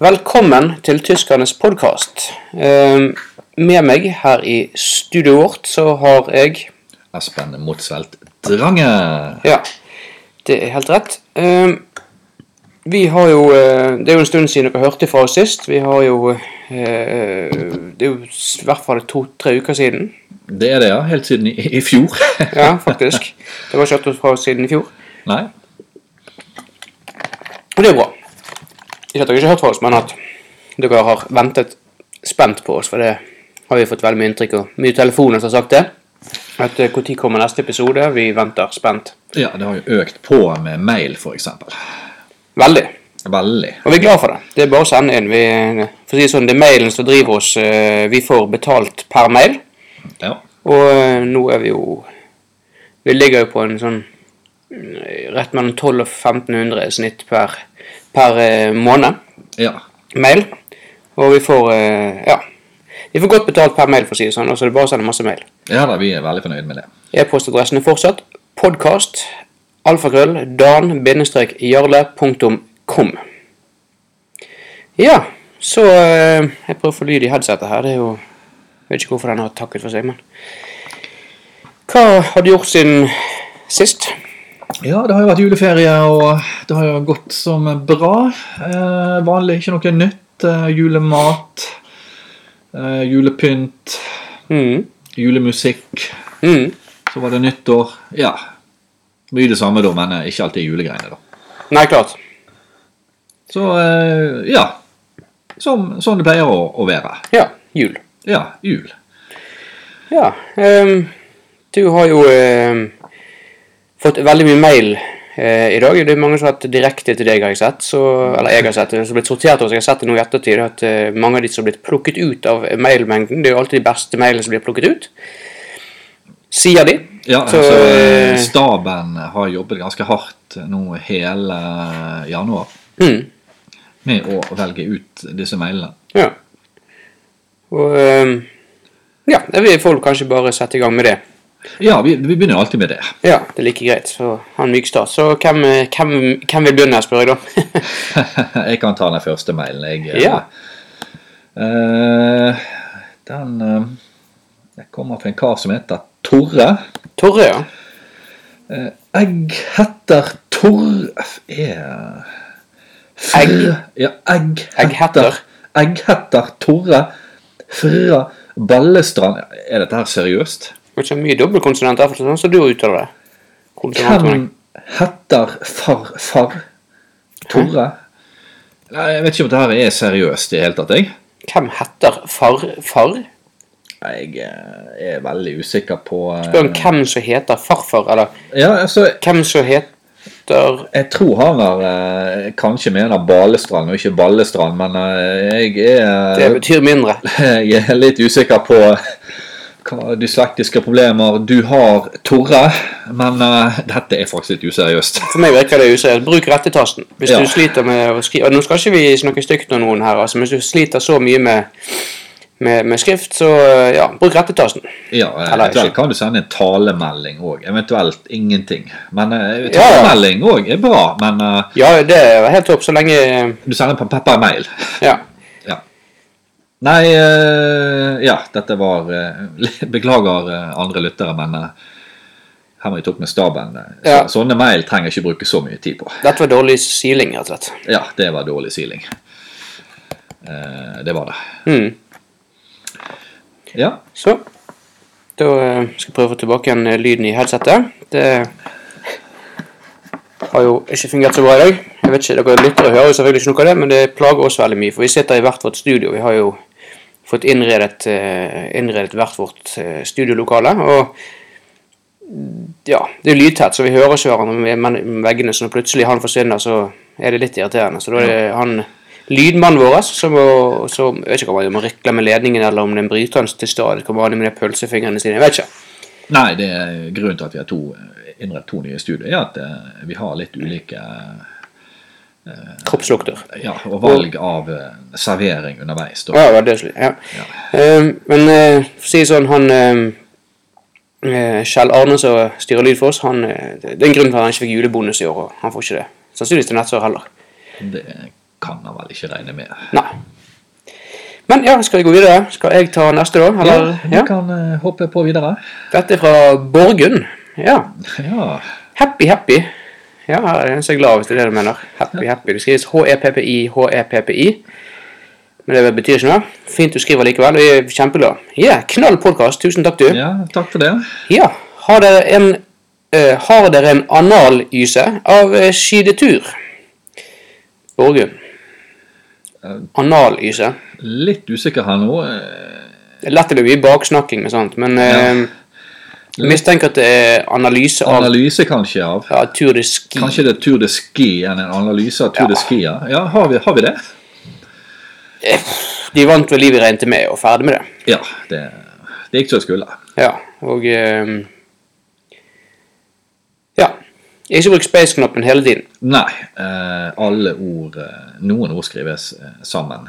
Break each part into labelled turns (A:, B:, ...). A: Velkommen til Tyskernes podkast. Med meg her i studioet vårt så har jeg
B: Espen Motsvelt Drange.
A: Ja, det er helt rett. Ehm, Vi har jo eh, Det er jo en stund siden dere hørte fra oss sist. Vi har jo eh, Det er jo s- i hvert fall to-tre uker siden.
B: Det er det, ja. Helt siden i, i fjor.
A: Ja, faktisk. Det var ikke hørt fra oss siden i fjor.
B: Nei.
A: Og det er bra. Ikke at dere ikke har hørt fra oss, men at dere har ventet spent på oss. For det har vi fått veldig mye inntrykk av. Mye telefoner som har sagt det. At eh, Når kommer neste episode? Vi venter spent.
B: Ja, det har jo økt på med mail, f.eks.
A: Veldig.
B: Veldig.
A: Og vi er glad for det. Det er bare å sende inn. Vi, for å si det sånn, det er mailen som driver oss. eh, Vi får betalt per mail.
B: Ja.
A: Og eh, nå er vi jo Vi ligger jo på en sånn eh, Rett mellom 12 og 1500 i snitt per, per eh, måned.
B: ja.
A: mail. Og vi får eh, ja. Vi får godt betalt per mail, for å si det sånn. Og så er det bare å sende masse mail.
B: Ja da, vi er veldig fornøyd med det.
A: E-postadressen er fortsatt podkast alfakrøll dan-jarle.com. Ja, så eh, Jeg prøver å få lyd i headsetet her. Det er jo Jeg vet ikke hvorfor den har takket for seg, men Hva har du gjort siden sist?
B: Ja, det har jo vært juleferie, og det har jo gått som bra. Eh, vanlig ikke noe nytt. Eh, julemat. Eh, julepynt.
A: Mm.
B: Julemusikk.
A: Mm.
B: Så var det nyttår. Ja. Mye det samme, da, men eh, ikke alltid julegreiene, da.
A: Nei, klart.
B: Så eh, ja. Som, sånn det pleier å, å være.
A: Ja. Jul.
B: Ja, jul.
A: Ja. ehm, du har jo ehm, fått veldig mye mail eh, i dag. Det er mange som har hatt direkte til deg, har jeg sett. Så, eller jeg har sett det, som har blitt sortert hos. Jeg har sett det nå i ettertid at eh, mange av de som har blitt plukket ut av mailmengden Det er jo alltid de beste mailene som blir plukket ut. Sier de.
B: Ja,
A: Så,
B: altså,
A: eh,
B: staben har jobbet ganske hardt nå hele januar
A: Mm,
B: med å velge ut disse mailene.
A: ja. Og ehm, Ja, det vil folk kanskje bare sette i gang med det.
B: Ja, vi, vi begynner alltid med det.
A: Ja, det er like greit. Så ha en myk start. Så hvem, eh, hvem, hvem vil begynne, spør jeg da.
B: Jeg kan ta den første mailen. Jeg, eh,
A: Ja.
B: eh, den eh, jeg kommer fra en kar som heter Torre.
A: Torre, ja.
B: Egg heter Torr... Er
A: Egg.
B: Ja, egg
A: Egg heter.
B: Egg heter Torre fra Ballestrand. Er dette her seriøst?
A: Det er ikke mye dobbeltkonsonanter, for det er sånn som du uttaler det. Konsonantene.
B: Hvem heter farfar Torre? Nei, Jeg vet ikke om dette her er seriøst i det hele tatt, jeg.
A: Hvem heter farfar?
B: Jeg eh, er veldig usikker på eh,
A: Spør om hvem som heter farfar, eller
B: Ja, altså,
A: hvem som heter
B: Jeg tror han har eh, kanskje mener Balestrand og ikke Ballestrand, men eh, jeg er
A: Det betyr mindre.
B: Jeg er litt usikker på hva dyslektiske problemer du har, Torre. Men eh, dette er faktisk litt useriøst.
A: For meg virker det useriøst. Bruk rettetasten. Hvis
B: Ja.
A: du sliter med å skrive Nå skal ikke vi snakke stygt om noen her, altså, men hvis du sliter så mye med, med, med skrift, så ja, bruk rettetasten.
B: Ja, eh,
A: Eller
B: Eventuelt
A: ikke.
B: kan du sende en talemelding òg. Eventuelt ingenting. Men eh,
A: Ja, ja.
B: talemelding òg er bra, men eh,
A: Ja, det er helt topp, så lenge
B: du sender på pappa mail.
A: Ja.
B: Ja. Nei eh, Ja, dette var eh, Beklager eh, andre lyttere, men eh, her må vi tok med staben. eh, Så,
A: Ja.
B: Sånne mail trenger jeg ikke bruke så mye tid på.
A: Dette var dårlig siling, rett og slett.
B: Ja, det var dårlig siling. Eh, det var det.
A: Mm.
B: Ja.
A: Så. Da eh, skal jeg prøve å få tilbake igjen eh, lyden i headsetet. Det har jo ikke fungert så bra i dag. Jeg vet ikke, Dere lyttere hører jo selvfølgelig ikke noe av det, men det plager oss veldig mye. For vi sitter i hvert vårt studio. Vi har jo fått innredet, eh, innredet hvert vårt eh, studiolokale. Og ja, det er lydtett, så vi hører ikke hverandre med men- veggene. Så når plutselig han forsvinner, så er det litt irriterende. Så da er det han lydmannen vår som, må- som Jeg vet ikke om han gjør, om han rykler med ledningen, eller om det er en bryter han til stadig kommer an med de pølsefingrene sine. Jeg vet ikke.
B: Nei, det er grunnen til at vi har to, eh, innrett to nye studier, er at eh, vi har litt ulike eh,
A: Kroppslukter.
B: ja, og valg av eh, servering underveis. Da.
A: Ja, det var det slik. Ja. Eh, men eh, for å si det sånn, han eh, eh, Kjell Arne som styrer lyd for oss, han, eh, det er en grunn til at han ikke fikk julebonus i år, og han får ikke det. Sannsynligvis til neste år heller.
B: Det kan han vel ikke regne med.
A: Nei. Men ja, skal vi gå videre? Skal jeg ta neste, da? Eller?
B: Vi
A: Ja.
B: kan eh, hoppe på videre.
A: Dette er fra Borgund. Ja.
B: Ja.
A: Happy Happy. Ja, her er en som er glad hvis det er det du E mener. Happy Happy. Det skrives H-E-P-P-I, H-E-P-P-I. Men det betyr ikke noe. Fint du skriver likevel. Vi er kjempeglad. Ja, knall podkast. Tusen takk, du.
B: ja, takk for det.
A: Ja. Har dere en, eh, har dere en analyse av eh, skidetur? Borgund. Analyse.
B: Litt usikker her nå. eh,
A: Det er lett det blir mye baksnakking med sånt, men eh, jeg mistenker at det er analyse av
B: Analyse kanskje av.
A: ja, tur de ski.
B: Kanskje det er Tour de Ski enn en analyse av Tour de Ski. Ja, ja har, vi, har vi det?
A: Eh, De vant vel livet regnet med, og ferdig med det.
B: Ja, det, det gikk som det skulle.
A: Ja, og eh, Ja. Ikke bruk space-knappen hele tiden.
B: Nei, eh, alle ord eh, Noen ord skrives eh, sammen.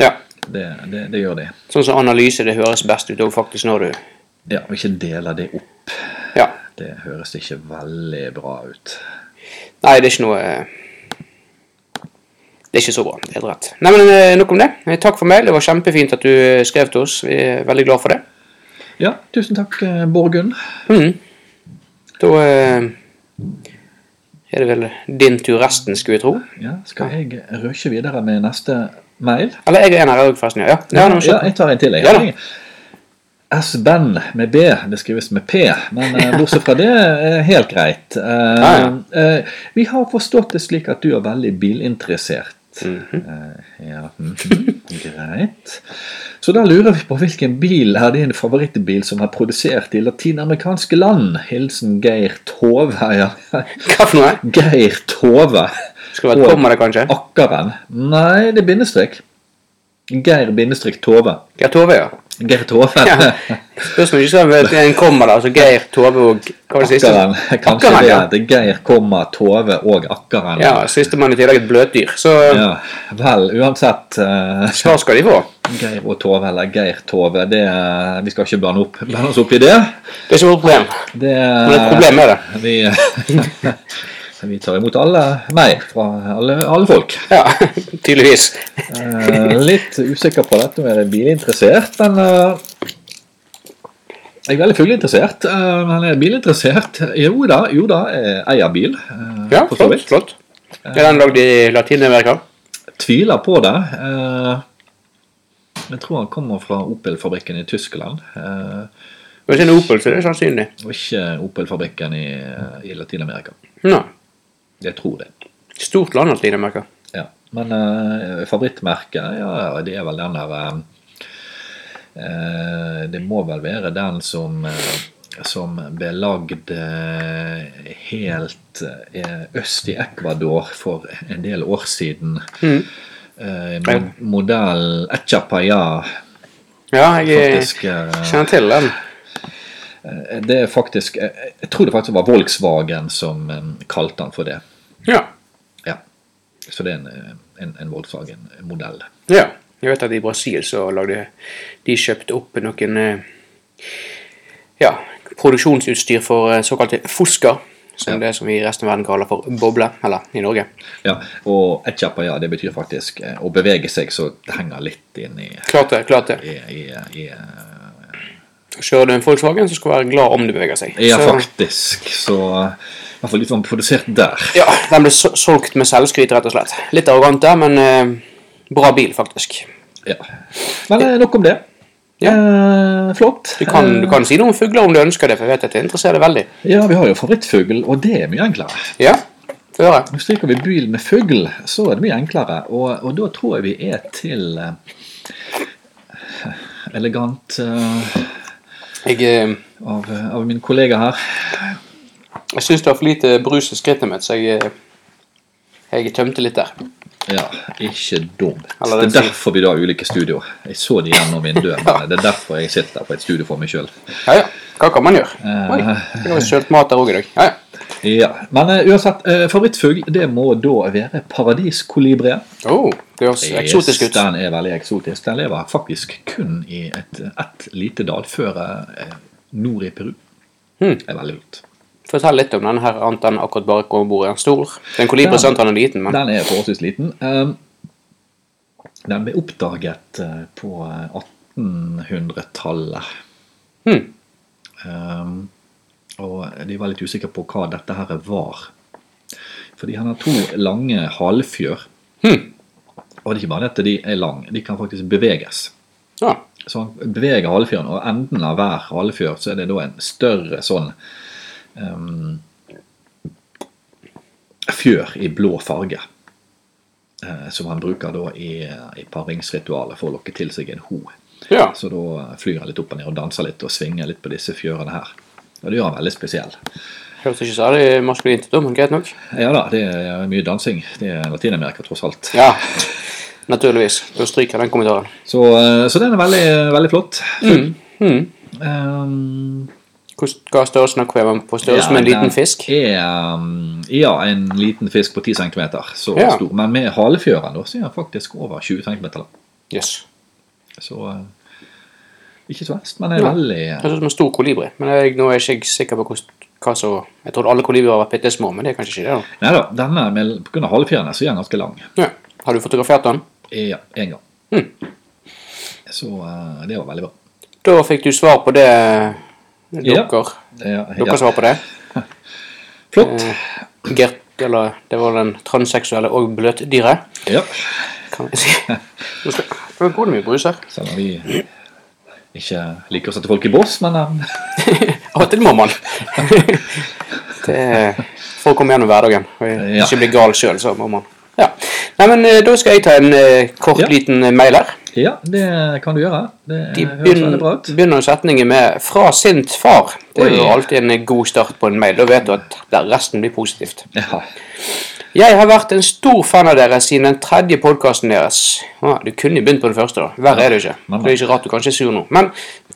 A: Ja,
B: Det, det, det gjør de.
A: Sånn som analyse, det høres best ut òg, faktisk, når du
B: Ja, og ikke deler det opp.
A: Ja.
B: Det høres ikke veldig bra ut.
A: Nei, det er ikke noe eh, Det er ikke så bra. Helt rett. Nei, men eh, nok om det. Eh, Takk for mail. Det var kjempefint at du eh, skrev til oss. Vi er veldig glad for det.
B: Ja, tusen takk, eh, Borgund.
A: Mhm. Da eh, er det vel din tur resten, skulle jeg tro.
B: Ja, skal jeg rushe videre med neste mail?
A: Eller jeg er en her òg, forresten. Ja. Ja, ja, nå,
B: ja,
A: skjønner jeg.
B: jeg tar en til.
A: Ja da.
B: Jeg. S-band med B, det skrives med P, men eh, bortsett fra det, eh, helt greit. Eh,
A: Ja,
B: eh, vi har forstått det slik at du er veldig bilinteressert.
A: Mhm.
B: Eh, ja, mhm, greit. Så da lurer vi på hvilken bil er din favorittbil som er produsert i latinamerikanske land? Hilsen Geir Tove. Ja.
A: Hva for noe?
B: Geir Tove.
A: Skal være et
B: Og
A: komma, det, kanskje?
B: Akkeren. Nei, det er bindestrek. Geir bindestrek Tove.
A: Geir Tove, ja.
B: Geir Tove.
A: ja. Spørs om du ikke skal være en komma, da. Altså Geir, Tove og Hva var det siste?
B: Akkeren. Kanskje
A: Akkeren,
B: det
A: ja.
B: er det. Geir, komma, Tove og Akkeren.
A: Ja, Sistemann i tillegg et bløtdyr. Så
B: Ja, Vel, uansett eh,
A: svar skal de få.
B: Geir og Tove, eller Geir Tove det, eh, Vi skal ikke blande, opp, blande oss opp i det.
A: Det er ikke vårt problem.
B: Det
A: Men et problem er det.
B: Vi, vi tar imot alle meg fra alle, alle folk.
A: Ja, tydeligvis.
B: Eh, litt usikker på dette med bilinteressert, men eh, Jeg er veldig fugleinteressert, eh, men jeg er bilinteressert. Jo da, jo da, jeg eier bil. eh,
A: Ja,
B: for så
A: flott.
B: vidt.
A: flott. Er den lagd i Latin-Amerika?
B: Tviler på det. eh, Jeg tror han kommer fra Opel-fabrikken i Tyskland. eh,
A: Hvis det er en Opel, så er det sannsynlig.
B: Og ikke Opel-fabrikken i, eh, i Latin-Amerika.
A: Nå,
B: Jeg tror det.
A: Stort land, Latin-Amerika.
B: Ja. Men eh, favorittmerket, ja, det er vel den der eh, eh, Det må vel være den som eh, som ble lagd eh, helt eh, øst i Ecuador for en del år siden.
A: Mhm.
B: Eh, mo- Modell Echapaya,
A: Ja, jeg
B: faktisk. eh,
A: kjenner til den.
B: Det er faktisk Jeg jeg tror det faktisk var Volkswagen som eh, kalte den for det.
A: Ja.
B: Ja. Så det er en, eh, en, en Volkswagen-modell.
A: ja. Jeg vet at i Brasil så lagde de kjøpte opp noen eh, ja, produksjonsutstyr for eh, såkalte fusker. Som det som vi i resten av verden kaller for boble, eller i Norge.
B: Ja, og et kjappa, ja, det betyr faktisk eh, å bevege seg, så det henger litt inn i,
A: Klart det. klart det.
B: i, i, i eh,
A: Kjører du en Volkswagen, så skal du være glad om du beveger seg.
B: Ja,
A: Så-
B: faktisk. Så eh, i hvert fall litt var produsert der.
A: Ja, den ble so- solgt med selvskryt, rett og slett. Litt arrogant der, men eh, bra bil, faktisk.
B: Ja. Men eh, nok om det.
A: Ja.
B: Eh, flott.
A: Du kan, du kan si noe om fugler om du ønsker det, for jeg vet at det interesserer deg veldig.
B: Eh, ja, vi har jo favorittfugl, og det er mye enklere.
A: Ja, få høre.
B: Nå stryker vi bil med fugl, så er det mye enklere. Og, og da tror jeg vi er til eh, elegant eh,
A: Jeg, eh,
B: av, av min kollega her.
A: jeg syns det var for lite brus i skrittet mitt, så jeg, eh, jeg tømte litt der.
B: Ja, ikke dumt.
A: Eller
B: det
A: den
B: er
A: sier-
B: derfor vi da har ulike studioer. Jeg så de gjennom vinduet, men det er derfor jeg sitter på et studio for meg sjøl.
A: Ja ja, hva kan man gjøre? Oi, jeg har kjølt mat der òg i dag. Ja ja.
B: Ja. Men eh, uansett, eh, favorittfugl det må da være paradiskolibrien.
A: Oh, det høres eksotisk ut.
B: Den er veldig eksotisk. Den lever faktisk kun i et, et lite dalføre eh, nord i Peru.
A: Hmm.
B: Det er veldig lurt.
A: Fortell litt om denne her, annet enn akkurat bare hvor bordet er stor. Den kolibri
B: Ja.
A: sant han er liten, men
B: Den er forholdsvis liten. Um, Den ble oppdaget eh, på 1800-tallet.
A: Hmm.
B: Ehm, og de var litt usikre på hva dette her var. Fordi han har to lange halefjør.
A: Hmm.
B: Og det er ikke bare det at de er lange, de kan faktisk beveges.
A: Ja.
B: Så han beveger halefjøren, og enden av hver halefjør så er det da en større sånn ehm, fjør i blå farge. eh, som han bruker da i, eh, i paringsritualet for å lokke til seg en ho.
A: ja.
B: Så da flyr han litt opp og ned og danser litt og svinger litt på disse fjørene her. Og det gjør han veldig spesiell.
A: Hørtes ikke særlig maskulint ut, da, men greit nok.
B: Ja da, det er mye dansing. Det er Latin-Amerika, tross alt.
A: Ja. Naturligvis. Da stryker jeg den kommentaren.
B: Så, eh, så den er veldig, veldig flott.
A: Mm. Mm.
B: Um,
A: Hvordan- Hva er størrelsen av kveven på størrelse med en
B: den
A: liten fisk?
B: Er, um, ja, en liten fisk på 10 cm. Så
A: Ja.
B: stor. Men med halefjøren da, så er den faktisk over 20 cm. lang.
A: Yes.
B: Så eh, ikke så verst, men er
A: Ja.
B: veldig eh,
A: Det ser ut som en stor kolibri, men jeg, nå er jeg ikke sikker på hvordan, hva som Jeg trodde alle kolibrier var bitte små, men det er kanskje ikke det, da.
B: Nei da, denne med- på grunn av halefjørene så er den ganske lang. Eh,
A: Ja. Har du fotografert den?
B: Ja, én gang.
A: Mm.
B: Så eh, det var veldig bra.
A: Da fikk du svar på det,
B: Ja.
A: dere.
B: Ja,
A: Dere Eh.
B: ja.
A: svar på det.
B: Flott.
A: Gert, eller det var den transseksuelle og bløtdyret,
B: Ja.
A: kan jeg si. Nå skal- Nå går det mye brus her.
B: Selv om vi ikke liker å sette folk i bås, men eh,
A: Av og til må man. det er for å komme gjennom hverdagen og
B: Ja.
A: ikke bli gal sjøl, så må man. Ja. Nei, men eh, da skal jeg ta en eh, kort
B: Ja.
A: liten eh, mail her.
B: ja, det kan du gjøre. Det
A: De
B: høres veldig bra ut.
A: begynner setningen med 'fra sint far'. Det er jo
B: Oi.
A: alltid en eh, god start på en mail. Da vet du at der resten blir positivt.
B: Ja.
A: Jeg har vært en stor fan av dere siden den tredje podkasten deres. Ah, du kunne jo begynt på den første, da. Verre er det ikke.
B: Nei, nei.
A: Det er ikke rart du kanskje er sur nå. Men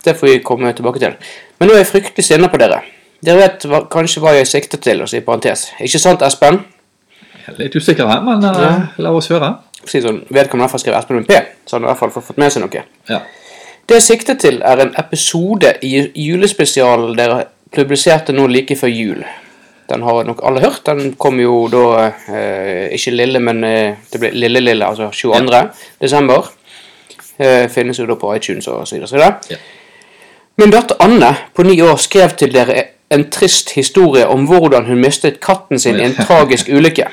A: det får vi komme tilbake til. Men nå er jeg fryktelig sinna på dere. Dere vet hva, kanskje hva jeg sikter til, altså i parentes. Ikke sant, Espen?
B: Jeg er Litt usikker her, men eh,
A: Ja.
B: la oss høre.
A: Si sånn, Vedkommende har i hvert fall skrevet Espen med P, så han har i hvert fall fått- fått med seg noe.
B: Ja.
A: Det jeg sikter til, er en episode i ju- julespesialen dere publiserte nå like før jul. Den har nok alle hørt. Den kom jo da eh, Ikke lille, men eh, det ble Lille-Lille, altså 22. desember. Eh, finnes jo da på iTunes og så videre. Så videre.
B: Ja.
A: Min datter Anne på ni år skrev til dere en trist historie om hvordan hun mistet katten sin i en tragisk ulykke.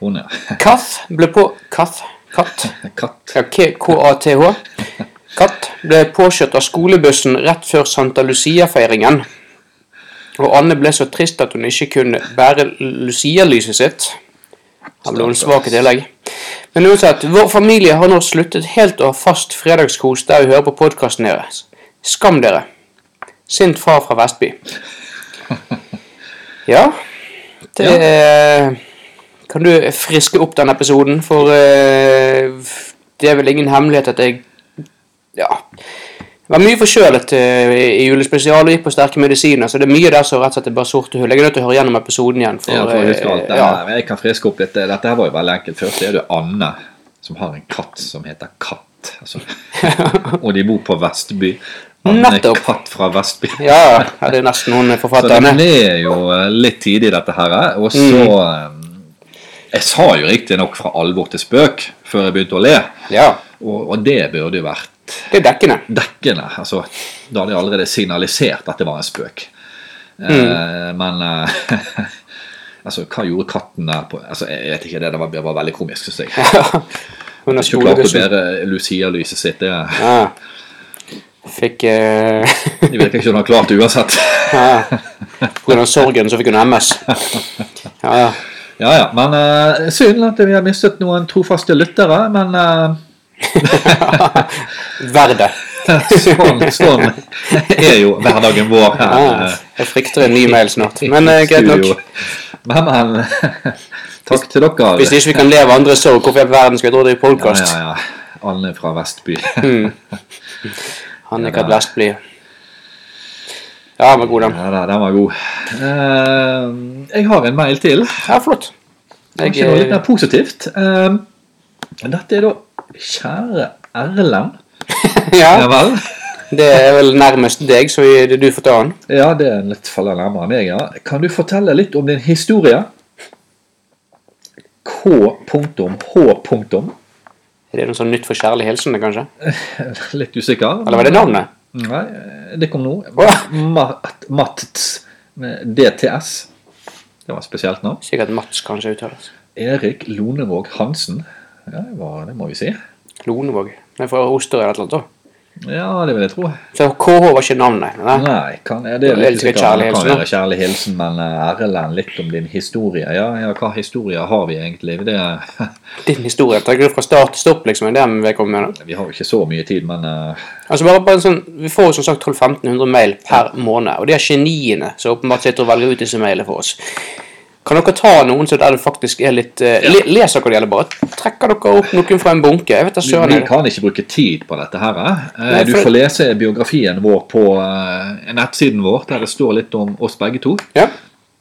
B: Hun er
A: Kath ble på Kath? Katt?
B: katt.
A: Ja, K- K-A-T-H. Katt ble påkjørt av skolebussen rett før Santa Lucia-feiringen. Og Anne ble så trist at hun ikke kunne bære Lucia-lyset sitt. Her ble hun svak i tillegg. Men uansett, vår familie har nå sluttet helt å ha fast fredagskos der vi hører på podkasten deres. Skam dere. Sint far fra Vestby. Ja, det Kan du friske opp den episoden, for eh, det er vel ingen hemmelighet at jeg Ja. Jeg var mye forkjølet eh, i julespesial og gikk på sterke medisiner, så det er mye der som rett og slett er bare sorte hull. Jeg er nødt til å høre gjennom episoden igjen. For,
B: Ja, for å huske alt
A: eh,
B: det
A: ja.
B: her. Jeg kan friske opp litt. Dette her var jo veldig enkelt. Først er det Anne som har en katt som heter Katt. Altså. Og de bor på Vestby. Anne
A: Nettopp.
B: Katt fra Vestby.
A: Ja, ja, det er nesten hun
B: Så den
A: forfatterne.
B: er jo eh, litt tidlig, dette her. eh. Og så eh, Jeg sa jo riktignok fra alvor til spøk før jeg begynte å le,
A: Ja,
B: og, og det burde jo vært
A: det er dekkende.
B: dekkende. Altså, da hadde jeg allerede signalisert at det var en spøk. Eh,
A: Mm.
B: men eh, altså, hva gjorde katten der på altså, Jeg vet ikke, det, det var, det var veldig komisk, syns jeg.
A: Hun har
B: Ikke klarte å
A: skolebussen.
B: bære Lucia-lyset sitt. Det,
A: Ja. Fikk eh,
B: det virker ikke som hun har klart det uansett.
A: ja. På grunn av sorgen så fikk hun MS. Ja, ja.
B: Ja, ja, men eh, Synd at vi har mistet noen trofaste lyttere, men eh,
A: Verd det.
B: sånn, sånn er jo hverdagen vår her.
A: Ja,
B: eh,
A: jeg frykter en ny mail snart.
B: i
A: Men eh, greit
B: studio.
A: nok.
B: Men, men takk til dere.
A: Hvis ikke vi kan leve av andres sorg, hvorfor i all verden skal vi dra det i
B: ja,
A: podkast?
B: ja, ja. Anne fra Vestby.
A: Mm. Han er ikke at verst blir. Ja, men god den.
B: Ja, da, den var god. Eh, jeg har en mail til.
A: Ja, flott. Jeg,
B: Kanskje noe litt
A: eh,
B: mer positivt. Eh, dette er da Kjære Erlend. Ja
A: ja,
B: vel.
A: det er vel nærmest deg, så vi- det er du får ta den.
B: Ja, det er litt faller nærmere meg, ja. Kan du fortelle litt om din historie? K. H.
A: Er det noe sånn nytt for kjærlig hilsen, det, kanskje?
B: Litt usikker.
A: Eller var det navnet?
B: Nei, det kom nå.
A: Åh!
B: Mat- Matts med DTS. Det var et spesielt navn.
A: Sikkert Mats kanskje uttales.
B: Erik Lonevåg Hansen. Ja, det, var, det må vi si.
A: Lonevåg. Det er fra Osterøy eller noe sånt. da.
B: Ja, det vil jeg tro.
A: For KH var ikke navnet. Nei.
B: Nei, kan, er det
A: Jeg
B: litt
A: elsker
B: sikkert
A: kjærlig
B: det kan
A: hilsen, da.
B: være kjærlig hilsen, men eh, Erlend, litt om din historie. Ja, ja, hva historie har vi egentlig? Det,
A: Din historie tenker du fra start til stopp, liksom. er Det vi kommer med. nå?
B: vi har jo ikke så mye tid, men eh,
A: Altså bare, bare en sånn, Vi får jo som sagt 1200-1500 mail per måned, og de er geniene som åpenbart sitter og velger ut disse mailene for oss. Kan dere ta noen som der det faktisk er litt eh, le, Leser dere det gjelder, bare? Trekker dere opp noen fra en bunke? Jeg vet da
B: vi,
A: søren.
B: vi
A: jeg.
B: kan ikke bruke tid på dette her. eh. Eh,
A: Nei,
B: du
A: for-
B: får lese biografien vår på eh, nettsiden vår, der det står litt om oss begge to.
A: Ja.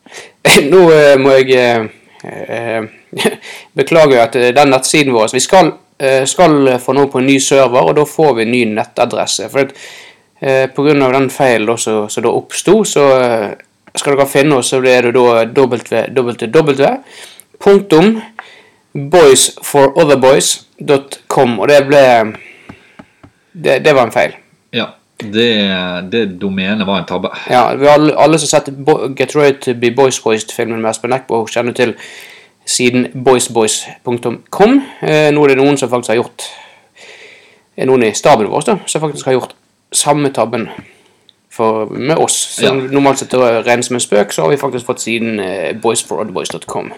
A: Nå eh, må jeg eh, eh, beklage at eh, den nettsiden vår Vi skal, eh, skal få nå på en ny server, og da får vi en ny nettadresse. For at, eh, på grunn av den feilen da som som da oppsto, så eh, skal dere finne oss, og det er det da eh, www.boysforotherboys.com. Og det ble eh, det, det var en feil.
B: Ja, det, det domenet var en tabbe.
A: Ja, vi har alle, alle som har sett Bo- Get Ready to Be Boys Boys-filmen med Espen Eckbo, kjenner til siden boysboys.com. Eh, nå er det noen som faktisk har gjort er noen i staben vår da, som faktisk har gjort samme tabben for, med oss. Som normalt sett er ren som en spøk, så har vi faktisk fått siden eh, boysforoddboys.com.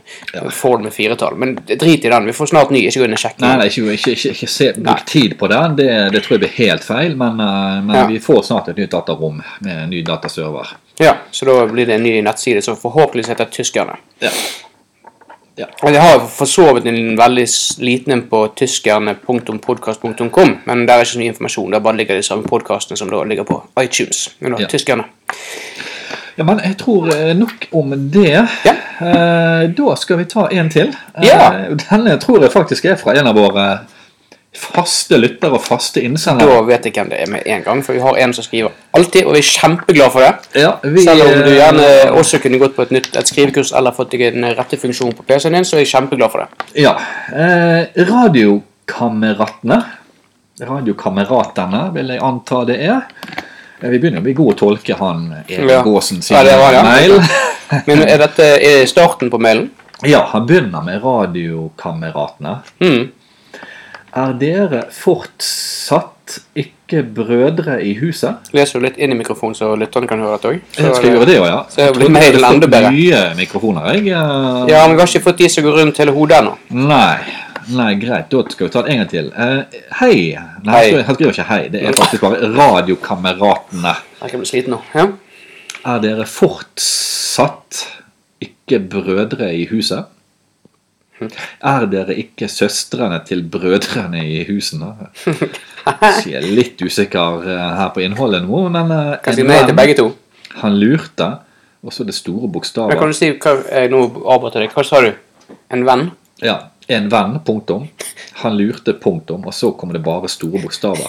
A: Ford med firetall. Men drit i den, vi får snart ny. Ikke gå inn og sjekke.
B: Nei, nei, ikke, ikke, ikke, ikke se, bruk tid på det. det. Det tror jeg blir helt feil, men, eh, men
A: Ja.
B: vi får snart et nytt datarom med en ny dataserver.
A: Ja, så da blir det en ny nettside som forhåpentligvis heter Tyskerne.
B: Ja.
A: Og Jeg har for så vidt en veldig s- liten en på tyskerne.podcast.com, men der er ikke så mye informasjon. Der bare ligger de samme podkastene som da ligger på iTunes. Men da,
B: Ja.
A: tyskerne.
B: Ja, men jeg tror eh, nok om det.
A: Ja.
B: Eh, Da skal vi ta en til. Eh,
A: Ja.
B: Denne tror jeg faktisk er fra en av våre faste lyttere og faste innsendere.
A: Da vet jeg hvem det er med en gang, for vi har en som skriver alltid, og vi er kjempeglade for det.
B: Ja, vi,
A: Selv om du
B: eh,
A: gjerne også kunne gått på et nytt et skrivekurs eller fått deg en rette funksjon på PC-en din, så er jeg kjempeglad for det.
B: Ja. eh, Radiokameratene. Radiokameratene vil jeg anta det er. Eh, Vi begynner å bli gode å tolke han Erik
A: Ja.
B: Gåsen sin
A: Ja, det var det.
B: mail.
A: Men er dette er starten på mailen?
B: Ja, han begynner med Radiokameratene.
A: Mm.
B: Er dere fortsatt ikke brødre i huset?
A: Leser du litt inn i mikrofonen, så lytterne kan høre dette òg?
B: Jeg skal gjøre det òg, ja.
A: så blir
B: Jeg trodde
A: mailen
B: jeg hadde
A: enda
B: fått
A: bedre.
B: Nye mikrofoner, jeg. eh,
A: Ja, men vi har ikke fått de som går rundt hele hodet ennå.
B: Nei. Nei, greit. Da skal vi ta det en gang til. Eh, hei.
A: Hei.
B: Nei, han skriver- han skriver ikke hei. Det er faktisk bare Radiokameratene.
A: Jeg kan bli sliten nå. Ja.
B: Er dere fortsatt ikke brødre i huset? Er dere ikke søstrene til brødrene i husene? Så jeg er litt usikker eh, her på innholdet nå, men eh,
A: Kan si nei til begge to.
B: Han lurte, og så det store
A: Men kan
B: bokstavet.
A: du si hva, eh, Nå avbrøt jeg deg. Hva sa du? En venn?
B: Ja, en venn, punktum. Han lurte, punktum, og så kommer det bare store bokstaver.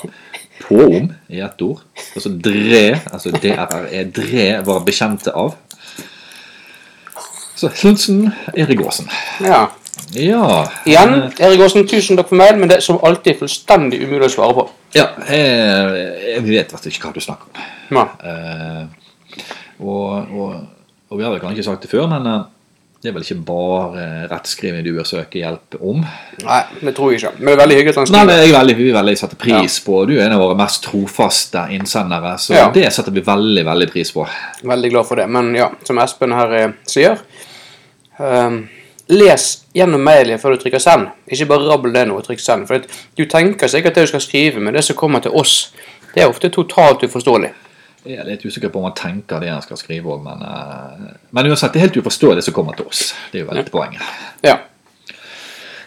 B: Påom i ett ord. Og så dre, altså DRRE, dre var bekjente av. Så Slundsen, Erik Aasen.
A: Ja.
B: Ja.
A: Igjen,
B: Eh.
A: Erik Aasen, tusen takk for mail, men det er som alltid fullstendig umulig å svare på.
B: Ja, jeg, jeg vet faktisk ikke hva du snakker om.
A: Ja.
B: Eh, og, og, og vi har vel kanskje sagt det før, men eh, det er vel ikke bare rettskriving du bør søke hjelp om.
A: Nei, det tror jeg ikke. Men det er veldig hyggelig at han
B: Nei,
A: skriver.
B: men jeg er veldig, vi veldig setter pris på Du er en av våre mest trofaste innsendere, så
A: Ja.
B: det setter vi veldig, veldig pris på.
A: Veldig glad for det. Men ja, som Espen her eh, sier ehm, Les gjennom mailen før du trykker 'send'. Ikke bare rabbel det nå og trykk 'send'. For at du tenker sikkert det du skal skrive, men det som kommer til oss, det er ofte totalt uforståelig.
B: Jeg er litt usikker på om han tenker det han skal skrive òg, men, eh, men uansett, det er helt uforståelig som kommer til oss. Det er jo veldig poenget.
A: Ja.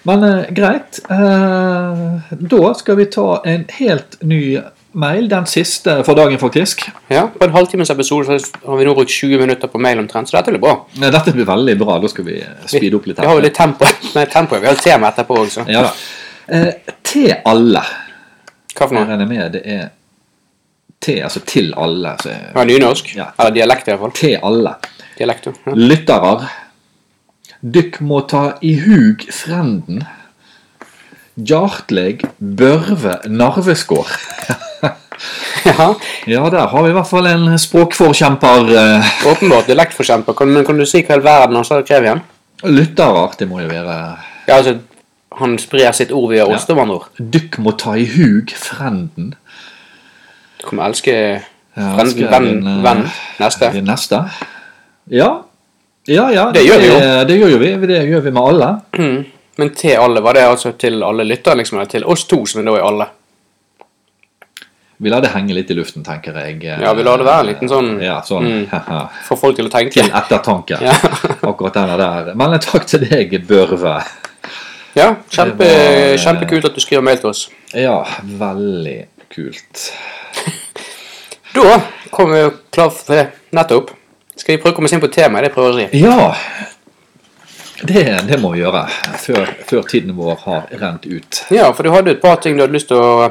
B: Men eh, greit. eh, da skal vi ta en helt ny mail. Den siste for dagen, faktisk.
A: ja. På en halvtimes episode så har vi nå brukt 20 minutter på mail omtrent, så dette blir bra.
B: Nei, Dette blir veldig bra. Da skal vi eh, speede opp litt.
A: Vi har jo litt tempo. Nei, tempo. Vi har et tema etterpå også.
B: Ja da. Eh, til alle.
A: Hva for
B: Jeg
A: noe?
B: regner med det er til, altså til alle. Så,
A: Ja, nynorsk?
B: Ja.
A: Eller dialekt, i hvert fall.
B: til alle.
A: Dialekt, jo. ja.
B: Lyttere. Dykk må ta i hug frenden. Hjartleg Børve Narveskår.
A: Ja,
B: Ja, der har vi i hvert fall en språkforkjemper. eh,
A: åpenbart dialektforkjemper. Kan, men kan du si hva i all verden han sa krever igjen?
B: Lyttere, det må jo være.
A: Ja, altså, han sprer sitt ord via oss, da, med andre ord.
B: Dykk må ta i hug frenden.
A: Du kommer elske
B: Ja,
A: Venn-
B: skrev
A: venn-
B: en, eh,
A: venn. Neste.
B: den neste. Ja. Ja, ja.
A: Det gjør vi jo.
B: Det, det gjør jo vi. Det gjør vi med alle.
A: Mm. Men til alle, var det altså til alle lyttere, liksom? Eller til oss to, som er da i alle?
B: Vi lar det henge litt i luften, tenker jeg.
A: Ja, vi lar det være en liten sånn-
B: Ja, sånn.
A: Få folk til å tenke.
B: til ettertanke.
A: Ja.
B: Akkurat denne der. Men takk til deg, Børve.
A: Ja, kjempe,
B: Det var- eh,
A: kjempekult at du skriver mail til oss.
B: Ja, veldig kult.
A: Da kom vi jo klar for det. Nettopp. Skal vi prøve å komme oss inn på temaet? Det prøver jeg å si.
B: Ja. Det, det må vi gjøre før, før tiden vår har rent ut.
A: Ja, for du hadde et par ting du hadde lyst til å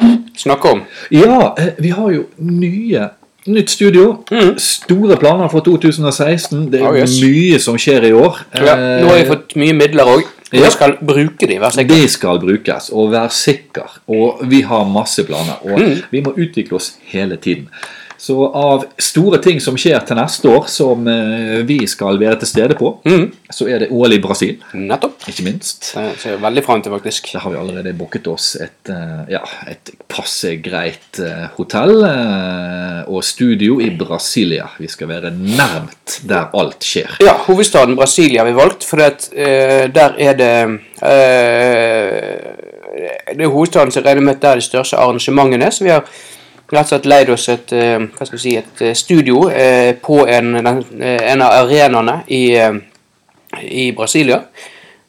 A: eh, snakke om.
B: Ja, eh, vi har jo nye Nytt studio. Store planer for 2016. Det er
A: Mm. Oh, yes.
B: mye som skjer i år.
A: Ja,
B: Eh,
A: nå har vi fått mye midler òg. Vi
B: ja.
A: skal bruke de, vær så god.
B: De skal brukes, og vær sikker. Og vi har masse planer, og
A: Mm.
B: vi må utvikle oss hele tiden. Så av store ting som skjer til neste år, som eh, vi skal være til stede på,
A: Mm.
B: så er det OL i Brasil,
A: Nettopp.
B: ikke minst.
A: Det ser jeg veldig fram til, faktisk.
B: Der har vi allerede booket oss et, eh, ja, et passe greit eh, hotell eh, og studio i Brasilia. Vi skal være nærmt der alt skjer.
A: Ja, hovedstaden Brasilia har vi valgt, for at, eh, der er det eh, Det er hovedstaden som regner med at der de største arrangementene er. Så vi har rett og slett leid oss et, eh, hva skal vi si, et eh, studio eh, på en, den- eh, en av arenaene i, eh, i Brasilia.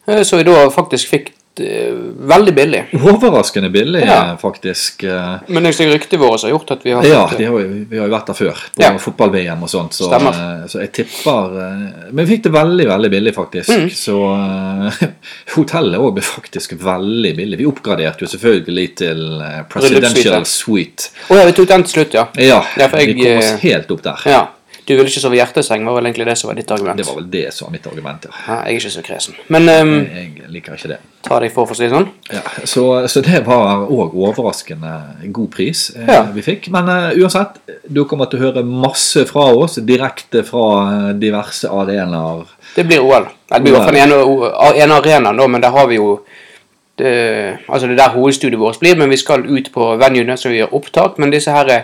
A: Eh, så vi da faktisk fikk eh, veldig billig.
B: Overraskende billig,
A: Ja.
B: eh, faktisk. eh.
A: Men det er ryktet vårt som har gjort at vi har
B: Ja,
A: fått-
B: de har, jo- vi har jo vært der før, på
A: Ja.
B: fotball-VM og sånt. Så,
A: Stemmer.
B: eh, så jeg tipper eh, Men vi fikk det veldig, veldig billig, faktisk.
A: Mm.
B: Så eh, hotellet òg ble faktisk veldig billig. Vi oppgraderte jo selvfølgelig til eh,
A: Bryllupssuite.
B: Presidential Suite.
A: Å ja, vi tok den til slutt, ja.
B: Ja,
A: Ja, for jeg,
B: vi kom
A: eh,
B: oss helt opp der.
A: ja. Du ville ikke sove i hjerteseng, var vel egentlig det som var ditt argument.
B: Det var vel Mm. det som var mitt argument. ja.
A: Ja, jeg er ikke så kresen. Men ehm,
B: Jeg liker ikke det.
A: ta deg for, for å si det sånn.
B: Ja, så, så det var òg overraskende god pris eh,
A: Ja.
B: vi fikk. Men eh, uansett, du kommer til å høre masse fra oss direkte fra eh, diverse arenaer.
A: Det blir OL. Nei, Det blir i hvert fall en, en arena nå, men der har vi jo det, Altså, det er der hovedstudiet vårt blir, men vi skal ut på venuene, så vi gjør opptak. Men disse her,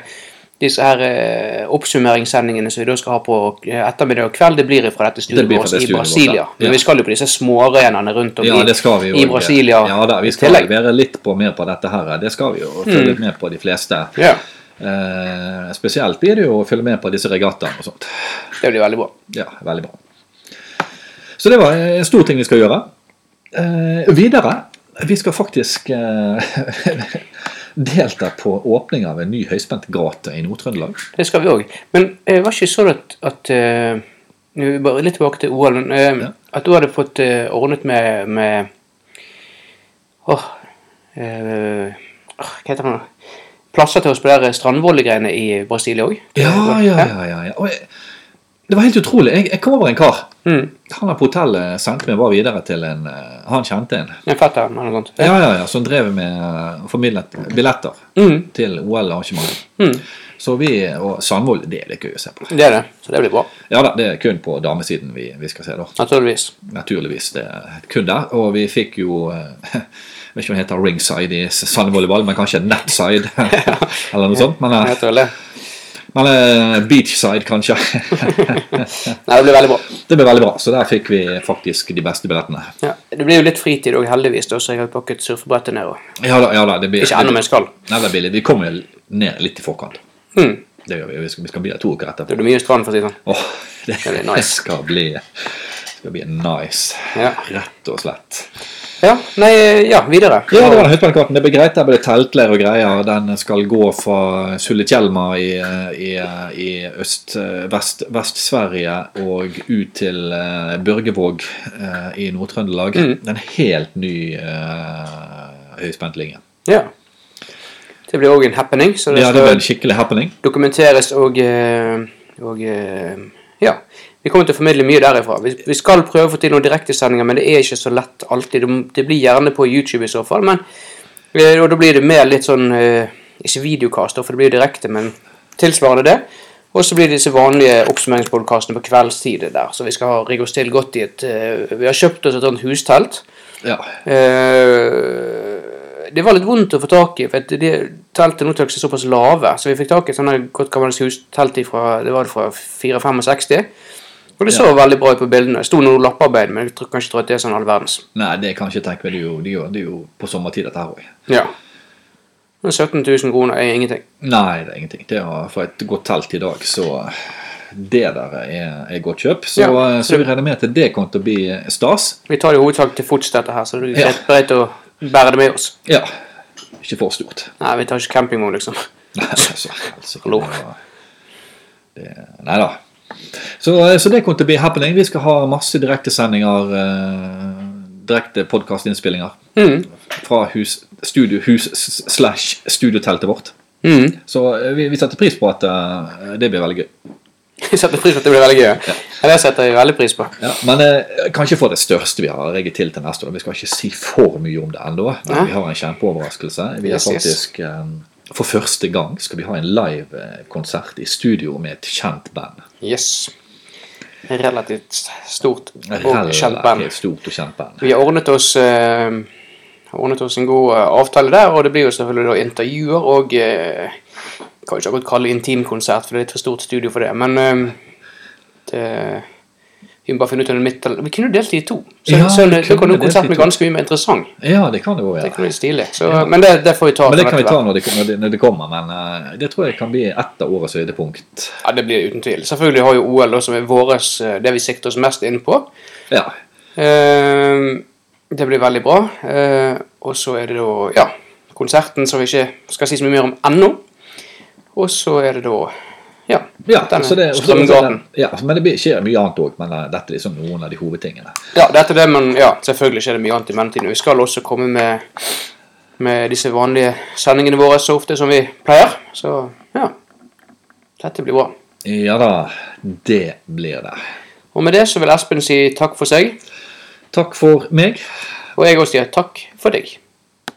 A: disse her eh, oppsummeringssendingene som vi da skal ha på eh, ettermiddag og kveld, det blir fra dette
B: Det
A: studiet
B: blir fra
A: vårt
B: det
A: i
B: studioet vårt,
A: Brasilia.
B: ja.
A: Men vi skal jo på disse småarenaene rundt om
B: Ja,
A: i,
B: det skal vi jo.
A: i Brasilia
B: Ja, da, vi
A: i
B: skal
A: tillegg. Mm.
B: være litt på, mer på dette her. Det skal vi jo følge med på de fleste.
A: Ja,
B: Eh, spesielt blir det jo å følge med på disse regattaene og sånt.
A: det blir veldig bra.
B: Ja, veldig bra. Så det var en stor ting vi skal gjøre. Eh, videre Vi skal faktisk eh, delta på åpning av en ny høyspentgrate i Nord-Trøndelag.
A: Det skal vi òg. Men eh, var ikke sånn at, at eh, nå er vi bare Litt tilbake til OL. Men, eh,
B: Ja.
A: At du hadde fått eh, ordnet med, med åh, eh, åh, Hva heter det nå? Plasser til å spille strandvollegreiene i Brasilia òg?
B: Ja, ja, ja. ja, ja. Og jeg, det var helt utrolig. Jeg, jeg kom over en kar.
A: Mm,
B: Han her på hotellet sendte meg bare videre til en eh, Han kjente en.
A: en fetter eller noe sånt.
B: Ja, ja, ja, Som drev med eh, formidlet billetter
A: Mm,
B: til OL-arrangementet.
A: mm,
B: Så vi og Sandvold, det er litt gøy å se på.
A: det er det. Så det blir bra.
B: Ja da, det er kun på damesiden vi, vi skal se, da.
A: Naturligvis.
B: naturligvis det kun der. Og vi fikk jo eh, Jeg vet ikke om det heter ringside i sandvolleyball, men kanskje netside eller noe sånt. Men, eh,
A: Jeg tror det.
B: men eh, beachside, kanskje.
A: Nei, det blir veldig bra.
B: Det ble veldig bra, så der fikk vi faktisk de beste billettene.
A: Ja, det blir jo litt fritid òg, heldigvis, da, så jeg har pakket surfebrettet ned. Og...
B: Ja da, ja da. Det blir,
A: Ikke ennå, men skal.
B: Nei, det blir billig. Vi kommer jo ned litt i forkant.
A: Mm.
B: Det gjør vi. Vi skal, vi skal bli der to uker etterpå.
A: Da er det mye strand, for å si det sånn.
B: Åh, det,
A: blir nice.
B: skal bli skal bli nice.
A: Ja.
B: Rett og slett.
A: Ja, nei, ja, videre.
B: Ja, det var den høytballkarten. Det ble greit. Der ble det teltleir og greier. Den skal gå fra Sulitjelma i, i, i øst, vest, Vest-Sverige og ut til eh, Børgevåg eh, i Nord-Trøndelag. En helt ny uh, høyspentlinje.
A: Ja. Det blir òg en happening, så det
B: Ja, det
A: skal
B: ble en skikkelig happening.
A: dokumenteres og, eh, og eh, Ja. Vi kommer til å formidle mye derifra. Vi, vi skal prøve å få til noen direktesendinger, men det er ikke så lett alltid. Det, det blir gjerne på YouTube i så fall, men eh, og da blir det mer litt sånn eh, Ikke videokast, da, for det blir jo direkte, men tilsvarende det. Og så blir det disse vanlige oppsummeringspodkastene på kveldstid der. Så vi skal ha rigge oss til godt i et eh, Vi har kjøpt oss et sånt hustelt.
B: Ja.
A: Eh, det var litt vondt å få tak i, for at de teltene nå tok seg såpass lave. Så vi fikk tak i et sånt her godt gammelt hustelt fra, det var fra 64-65. Og det så veldig bra ut på bildene. Det sto noe lapparbeid, men jeg tror kanskje tror at det er sånn all verdens.
B: Nei, det kan jeg ikke tenke meg. Det er jo, det er jo, det er jo på sommertid, dette her òg.
A: Ja. Men 17 000 kroner er ingenting.
B: Nei, det er ingenting. Det å få et godt telt i dag, så det der er, er godt kjøp. Så, eh,
A: Ja.
B: så vi regner med at det kommer til å bli stas.
A: Vi tar det i hovedsak til fots, dette her, så det er
B: Ja.
A: greit- greit å bære det med oss.
B: Ja. Ikke for stort.
A: Nei, vi tar ikke campingvogn, liksom.
B: Nei, altså, altså,
A: Hallo.
B: det var- det- Nei da. Så, så det kommer til å bli happening. Vi skal ha masse direktesendinger. Eh, direkte podkastinnspillinger
A: Mhm.
B: fra hus, studio, hus s- slash studioteltet vårt.
A: Mhm.
B: Så eh, vi, vi setter pris på at eh, det blir veldig gøy.
A: Jeg setter pris på at det blir veldig gøy. Ja, Det setter jeg veldig pris på.
B: Ja, men eh, kanskje for det største vi har regget til til neste år. Vi skal ikke si for mye om det ennå. Men
A: Nei.
B: vi har en kjempeoverraskelse. Vi har
A: Yes, yes.
B: faktisk eh, For første gang skal vi ha en live-konsert i studio med et kjent band.
A: Yes. Relativt stort og
B: Relativt
A: kjent band.
B: stort og kjent band.
A: Vi har ordnet oss, eh, ordnet oss en god eh, avtale der, og det blir jo selvfølgelig da intervjuer og eh, Kan ikke akkurat kalle det intimkonsert, for det er et for stort studio for det, men eh, det, Vi må bare finne ut om det er midt eller Vi kunne jo delt det i to. Så,
B: Ja,
A: så
B: vi
A: da
B: kunne
A: kan jo
B: delt det i
A: konserten bli
B: to.
A: ganske mye mer interessant.
B: Ja, det kan det jo
A: Det
B: være.
A: kan bli stilig. Så, Men det, det får vi ta.
B: Men det
A: for
B: kan vi
A: dette
B: ta når det, når det, når det kommer. Men eh, det tror jeg kan bli ett av årets høydepunkt.
A: Ja, Det blir det uten tvil. Selvfølgelig har jo OL, da, som er våres, eh, det vi sikter oss mest inn på.
B: Ja.
A: Eh, det blir veldig bra. Eh, og så er det da ja, konserten som vi ikke skal si så mye mer om ennå. Og så er det da ja,
B: ja
A: denne
B: så det, og så-
A: Strømgaten.
B: Ja, men det blir- skjer mye annet òg. Men eh, dette er liksom noen av de hovedtingene.
A: Ja, dette er det, men ja, selvfølgelig skjer det mye annet i mellomtiden. Vi skal også komme med, med disse vanlige sendingene våre så ofte som vi pleier. Så ja, dette blir bra.
B: Ja da, det blir det.
A: Og med det så vil Espen si takk for seg,
B: Takk for meg.
A: og jeg også sier takk for deg.